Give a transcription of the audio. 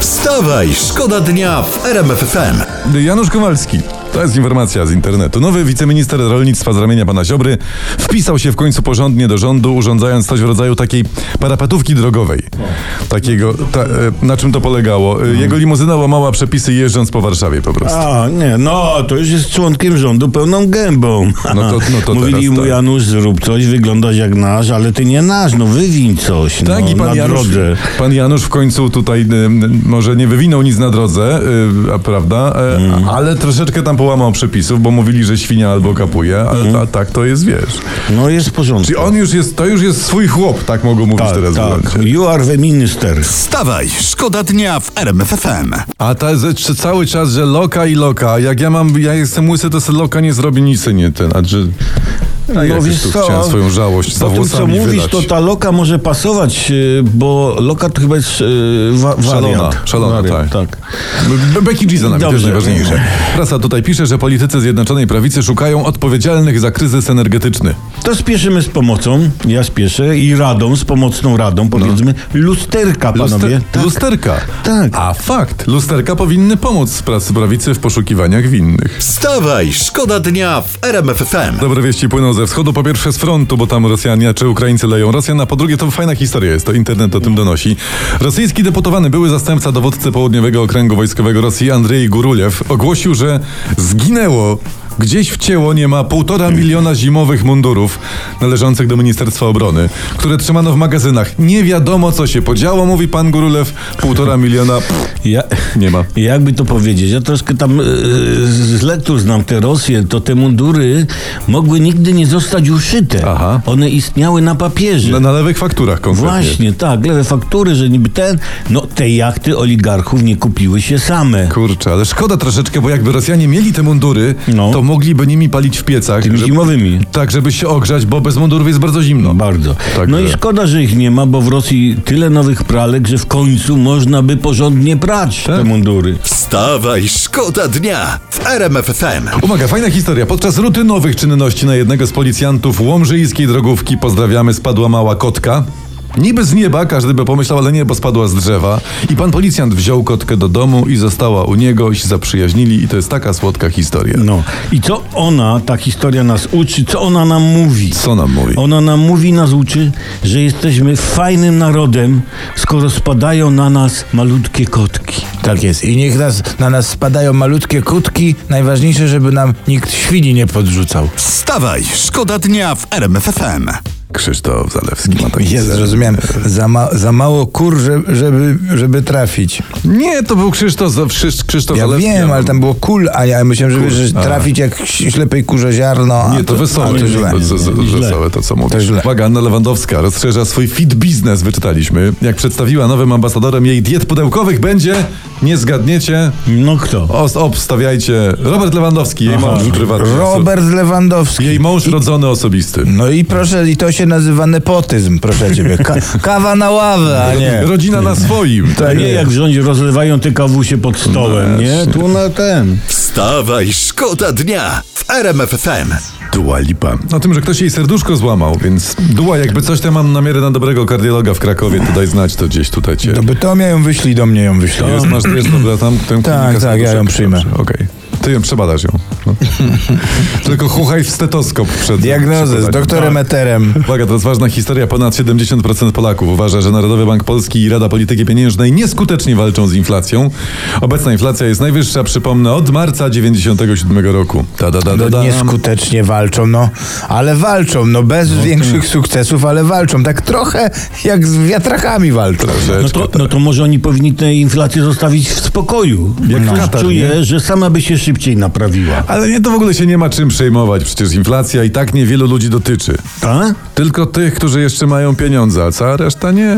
Wstawaj, szkoda dnia w RMF FM. Janusz Kowalski. To jest informacja z internetu. Nowy wiceminister rolnictwa z ramienia pana Ziobry wpisał się w końcu porządnie do rządu, urządzając coś w rodzaju takiej parapetówki drogowej. Takiego, ta, e, na czym to polegało? E, Jego limuzyna łamała przepisy jeżdżąc po Warszawie po prostu. A, nie, no, to już jest członkiem rządu pełną gębą. No to- no to Mówili teraz mu, tak. Janusz, zrób coś, wyglądasz jak nasz, ale ty nie nasz, no wywiń coś, Tak, no, i pan na Janusz, drodze. pan Janusz w końcu tutaj y, m, może nie wywinął nic na drodze, y, a prawda, e, Mhm. a- ale troszeczkę tam połamał przepisów, bo mówili, że świnia albo kapuje, a, Mhm. a tak to jest, wiesz. No jest w porządku. Czyli on już jest, to już jest swój chłop, tak mogą mówić teraz w tak, Irlandii. tak. You are the minister. Wstawaj, szkoda dnia w RMF FM. A ta, ze- czy cały czas, że loka i loka. Jak ja mam, ja jestem łysy, to se loka nie zrobi nic, nie ten. A czy... A ja wiesz No tu co, chciałem swoją żałość za Po tym, co włosami mówisz, wylać. to ta loka może pasować, y, bo loka to chyba jest y, wa- Szalona, wariant. szalona, wariant, tak. tak. Be- Becky G za nami, to jest Dobrze. najważniejsze. Prasa tutaj pisze, że politycy Zjednoczonej Prawicy szukają odpowiedzialnych za kryzys energetyczny. To spieszymy z pomocą, ja spieszę i radą, z pomocną radą powiedzmy, lusterka panowie. No. Luster- tak. Lusterka. Tak. A fakt, lusterka powinny pomóc pracy prawicy w poszukiwaniach winnych. Wstawaj, szkoda dnia w RMF FM. Dobre wieści płyną ze wschodu, po pierwsze z frontu, bo tam Rosjanie czy Ukraińcy leją Rosjan, a po drugie to fajna historia jest, to internet o tym donosi. Rosyjski deputowany, były zastępca dowódcy Południowego Okręgu Wojskowego Rosji Andrzej Gurulew ogłosił, że zginęło Gdzieś w ciało nie ma półtora miliona zimowych mundurów należących do Ministerstwa Obrony, które trzymano w magazynach. Nie wiadomo, co się podziało, mówi pan Gurulew. Półtora miliona pff, Ja, nie ma. jakby to powiedzieć, ja troszkę tam y, z lektur znam te Rosję, to te mundury mogły nigdy nie zostać uszyte. Aha. No, One istniały na papierze. Na, na lewych fakturach konkretnie. Właśnie, tak, lewe faktury, że niby ten, no te jachty oligarchów nie kupiły się same. Kurczę, ale szkoda troszeczkę, bo jakby Rosjanie mieli te mundury, No. to mogliby nimi palić w piecach. Tymi żeby- zimowymi. Tak, żeby się ogrzać, bo bez mundurów jest bardzo zimno. Bardzo. Tak, no że- i szkoda, że ich nie ma, bo w Rosji tyle nowych pralek, że w końcu można by porządnie prać Tak. te mundury. Wstawaj, szkoda dnia w RMF FM. Uwaga, fajna historia. Podczas rutynowych czynności na jednego z policjantów łomżyńskiej drogówki, pozdrawiamy, spadła mała kotka. Niby z nieba, każdy by pomyślał, ale nie, bo spadła z drzewa. I pan policjant wziął kotkę do domu i została u niego, i się zaprzyjaźnili i to jest taka słodka historia. No i co ona, ta historia nas uczy, co ona nam mówi? Co nam mówi? Ona nam mówi, nas uczy, że jesteśmy fajnym narodem, skoro spadają na nas malutkie kotki. Tak jest. I niech nas, na nas spadają malutkie kutki. Najważniejsze, żeby nam nikt świni nie podrzucał. Wstawaj, szkoda dnia w RMF FM. Krzysztof Zalewski ma taki Jest, ser. zrozumiałem. Za, ma, za mało kur, że- żeby, żeby trafić. Nie, to był Krzysztof, Za- Krzysz- Krzysztof Ja Zalewski. wiem, ale tak tam było kul, a ja myślałem, że, Kur, wiesz, że a. trafić jak ślepej kurze ziarno. a Nie, to a wesołe. To To, źle. to, to, nie, źle. wesołe to, co To mówisz. źle. Uwaga, Anna Lewandowska rozszerza swój fit biznes, wyczytaliśmy. Jak przedstawiła nowym ambasadorem jej diet pudełkowych, będzie, nie zgadniecie, No kto? os, obstawiajcie, Robert Lewandowski, jej mąż prywatny. Robert Lewandowski. Jej mąż rodzony osobisty. No i proszę, i to się nazywa nepotyzm, proszę ciebie. Ka- kawa na ławę, a nie. Rodzina na swoim. Tak Nie jest. jak w rządzie rozlewają te kawusie pod stołem, nie? Tu na ten. Wstawaj, szkoda dnia w RMF FM. Dua Lipa. O tym, że ktoś jej serduszko złamał, więc Dua, jakby coś tam mam namierę na dobrego kardiologa w Krakowie, to daj znać, to gdzieś tutaj cię... Do Bytomia ją wyślij, do mnie ją wyślij. Jest, masz, jest dobra, tam tę klinikę tak, ja serduszek. ją przyjmę. Dobrze, Okej. Ty ją przebadasz ją. No. Tylko chuchaj w stetoskop przed. Diagnozę z przed badaniem. doktorem Eterem. Uwaga, to jest ważna historia. Ponad 70% Polaków uważa, że Narodowy Bank Polski i Rada Polityki Pieniężnej nieskutecznie walczą z inflacją. Obecna inflacja jest najwyższa, przypomnę, od marca 97 roku. Ta, da, da, da, da. No, nieskutecznie walczą, no ale walczą, no bez większych sukcesów, ale walczą. Tak trochę jak z wiatrakami walczą. No Troszeczkę. to, no to może oni powinni tę inflację zostawić w spokoju. Jak no. Katar, czuję, nie? że sama by się szybciej naprawiła. Ale nie, to w ogóle się nie ma czym przejmować. Przecież inflacja i tak niewielu ludzi dotyczy. Tak? Tylko tych, którzy jeszcze mają pieniądze, a cała reszta nie.